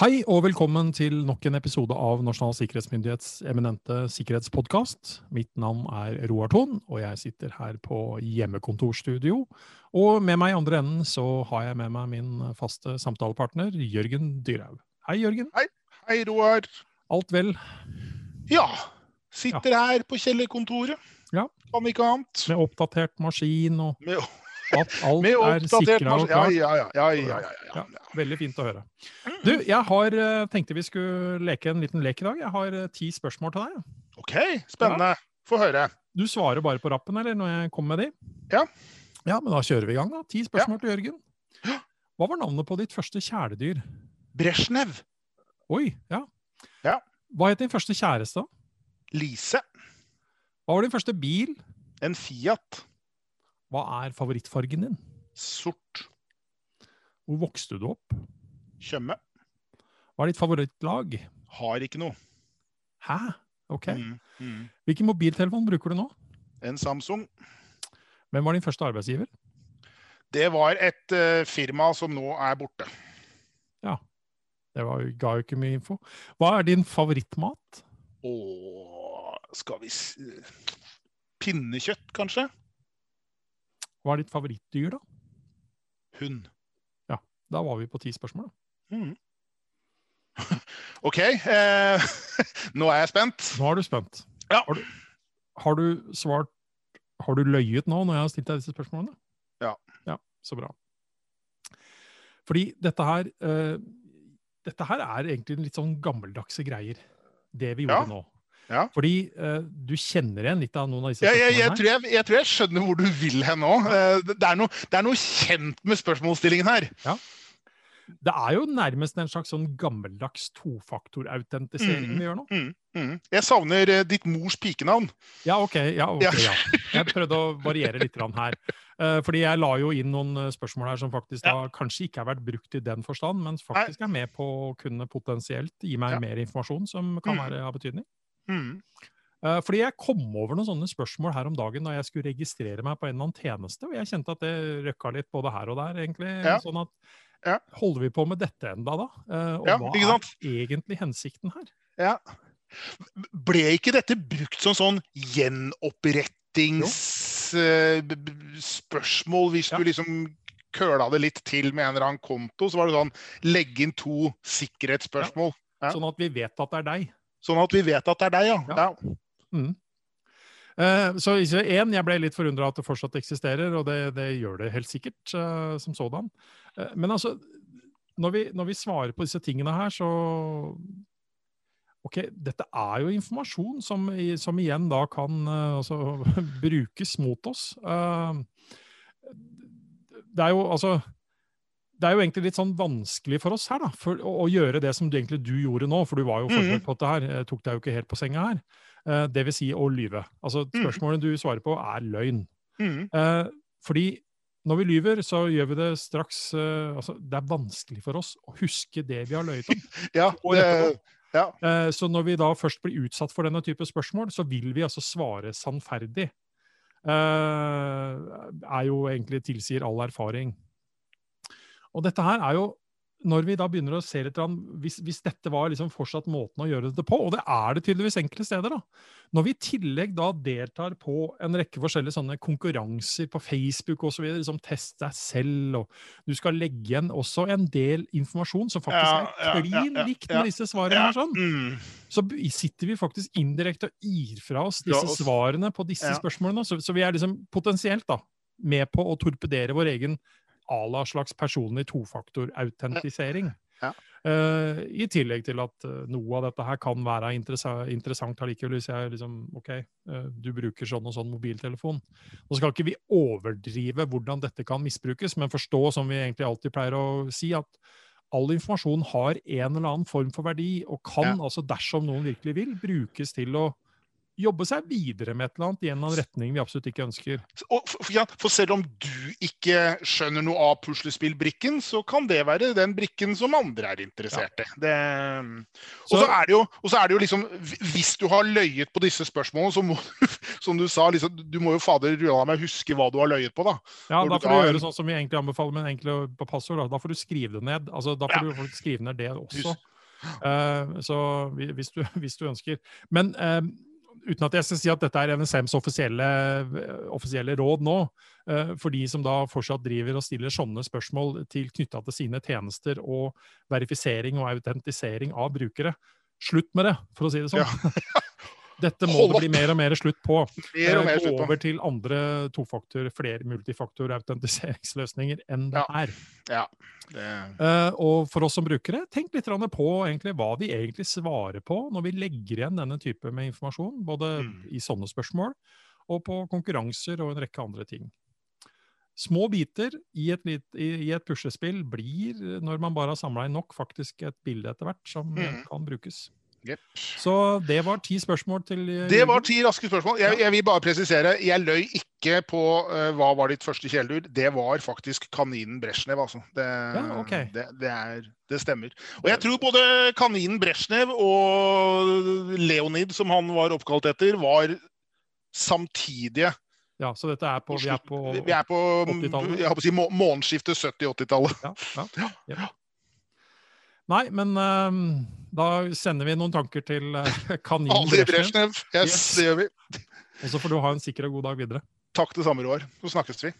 Hei og velkommen til nok en episode av Nasjonal sikkerhetsmyndighets eminente sikkerhetspodkast. Mitt navn er Roar Thon, og jeg sitter her på hjemmekontorstudio. Og med meg i andre enden så har jeg med meg min faste samtalepartner Jørgen Dyrhaug. Hei, Jørgen. Hei, Roar. Alt vel Ja, sitter her på kjellerkontoret. Ja. Kan ikke annet. med oppdatert maskin og Med, at alt med er oppdatert sikra og maskin. Ja, klart? ja, ja. ja, ja, ja, ja. Veldig fint å høre. Du, jeg har, eh, tenkte vi skulle leke en liten lek i dag. Jeg har eh, ti spørsmål til deg. jeg. OK, spennende. Få høre. Du svarer bare på rappen, eller, når jeg kommer med de? Ja. Ja, men da kjører vi i gang, da. Ti spørsmål til Jørgen. Hva var navnet på ditt første kjæledyr? Bresjnev. Oi, ja. Ja. Hva het din første kjæreste? Lise. Hva var din første bil? En Fiat. Hva er favorittfargen din? Sort. Hvor vokste du opp? Tjøme. Hva er ditt favorittlag? Har ikke noe. Hæ? Ok. Mm, mm. Hvilken mobiltelefon bruker du nå? En Samsung. Hvem var din første arbeidsgiver? Det var et eh, firma som nå er borte. Det var, ga jo ikke mye info. Hva er din favorittmat? Og skal vi s Pinnekjøtt, kanskje? Hva er ditt favorittdyr, da? Hund. Da var vi på ti spørsmål. da. Mm. OK. Eh, nå er jeg spent. Nå er du spent. Ja. Har du, har du svart Har du løyet nå når jeg har stilt deg disse spørsmålene? Ja. Ja, Så bra. Fordi dette her eh, Dette her er egentlig en litt sånn gammeldagse greier, det vi gjorde Ja. nå. Ja. Fordi eh, du kjenner igjen litt av noen av disse Jeg, jeg, spørsmålene jeg, her. tror jeg, jeg tror jeg skjønner hvor du vil hen nå. Eh, Det det er, noe, det er noe kjent med spørsmålsstillingen her. Det er jo nærmest en slags sånn gammeldags tofaktorautentisering Mm. vi gjør nå. Mm. Jeg savner eh, ditt mors pikenavn. Ja, ok. Ja, ok, Ja. ja. Jeg prøvde å variere litt grann her. Eh, Fordi jeg la jo inn noen eh, spørsmål her som faktisk da kanskje ikke har vært brukt i den forstand, men faktisk er med på å kunne potensielt gi meg Ja. mer informasjon som kan Mm. være av betydning. Mm. Eh, Fordi jeg kom over noen sånne spørsmål her om dagen da jeg skulle registrere meg på en eller annen tjeneste, og jeg kjente at det røkka litt både her og der, egentlig. Ja. Sånn at Ja. Holder vi på med dette enda da? Eh, Og Ja, hva ikke er sant? egentlig hensikten her? Ja. Ble ikke dette brukt som sånn eh, gjenopprettings...spørsmål hvis Ja. du liksom køla det litt til med en eller annen konto? Så var det sånn legge inn to sikkerhetsspørsmål. Ja. Sånn at vi vet at det er deg. Sånn at vi vet at det er deg, ja. Ja. ja. Eh, Så én, jeg ble litt forundra at det fortsatt eksisterer, og det, det gjør det helt sikkert eh, som sådan. Eh, Men altså, når vi, når vi svarer på disse tingene her, så Ok, dette er jo informasjon som, i- som igjen da kan eh, altså, brukes mot oss. Eh, Det er jo altså det er jo egentlig litt sånn vanskelig for oss her da, for, å, å gjøre det som du, egentlig du gjorde nå, for du var jo forberedt på dette her. Jeg tok deg jo ikke helt på senga her. Eh, det vil si å lyve. Altså, Mhm. spørsmålene du svarer på, er løgn. Mm. Eh, fordi når vi lyver, så gjør vi det straks eh, altså, Det er vanskelig for oss å huske det vi har løyet om. ja Og det, etterpå. ja. Eh, så når vi da først blir utsatt for denne type spørsmål, så vil vi altså svare sannferdig. Eh, er jo egentlig tilsier all erfaring. Og dette her er jo når vi da begynner å se litt grann, hvis, hvis dette var liksom fortsatt måten å gjøre dette på, og det er det tydeligvis enkelte steder, da. Når vi i tillegg da deltar på en rekke forskjellige sånne konkurranser på Facebook osv., som liksom test deg selv, og du skal legge igjen også en del informasjon som faktisk er Ja, ja, ja, klin ja, likt ja. med disse svarene Ja, her, sånn, mm. så b- sitter vi faktisk indirekte og gir fra oss disse Fra oss. svarene på disse Ja. spørsmålene. Så, så vi er liksom potensielt da med på å torpedere vår egen à la slags personlig tofaktorautentisering. Ja. Eh, I tillegg til at eh, noe av dette her kan være interessa- interessant allikevel, hvis jeg liksom OK, eh, du bruker sånn og sånn mobiltelefon. Nå skal ikke vi overdrive hvordan dette kan misbrukes, men forstå, som vi egentlig alltid pleier å si, at all informasjon har en eller annen form for verdi, og kan altså, dersom noen virkelig vil, brukes til å jobbe seg videre med et eller annet i en eller annen retning vi absolutt ikke ønsker. Og for, for- ja, for selv om du ikke skjønner noe av puslespillbrikken, så kan det være den brikken som andre er interessert i. Det, mm. og, så Så- er det jo, og så er det jo liksom Hvis du har løyet på disse spørsmålene, så må du, som du sa, liksom, du må jo fader rulla meg huske hva du har løyet på, da. Ja, Når Da du får du tar- gjøre sånn som vi egentlig anbefaler med enkle passord. Da. da får du skrive det ned. Altså, da får du faktisk skrive ned det også. Hus- Eh, så hvi- hvis du, hvis du ønsker. Men eh, uten at jeg skal si at dette er NSMs offisielle, eh, offisielle råd nå, eh, for de som da fortsatt driver og stiller sånne spørsmål til knytta til sine tjenester og verifisering og autentisering av brukere, slutt med det, for å si det sånn. Dette må Hold det bli mer og mer slutt på. Mer og Eh, mer Gå slutt på. over til andre tofaktor, flere multifaktor-autentiseringsløsninger enn det her. Det- Eh, og for oss som brukere, tenk litt grann på egentlig, hva vi egentlig svarer på når vi legger igjen denne type med informasjon, både Mm. i sånne spørsmål og på konkurranser og en rekke andre ting. Små biter i et, lit- i, i et puslespill blir, når man bare har samla inn nok, faktisk et bilde etter hvert som eh, Mm. kan brukes. Jepp. Så det var ti spørsmål til eh, Det var Jørgen. ti raske spørsmål. Jeg, jeg vil bare presisere, jeg løy ikke på eh, hva var ditt første kjæledyr. Det var faktisk kaninen Bresjnev, altså. Det, Ja, ok. det, det, er, det stemmer. Og jeg tror både kaninen Bresjnev og Leonid, som han var oppkalt etter, var samtidige. Ja, så dette er på, vi er på Vi er på, 80-tallet. jeg holdt på å si, må, månedsskiftet 70-80-tallet. Ja, ja, ja. Nei, men ehm, da sender vi noen tanker til eh, kanin Aldri Bresjnev. Bresjnev. Yes, Yes. det gjør vi. Og så får du ha en sikker og god dag videre. Takk det samme, Roar. Så snakkes vi.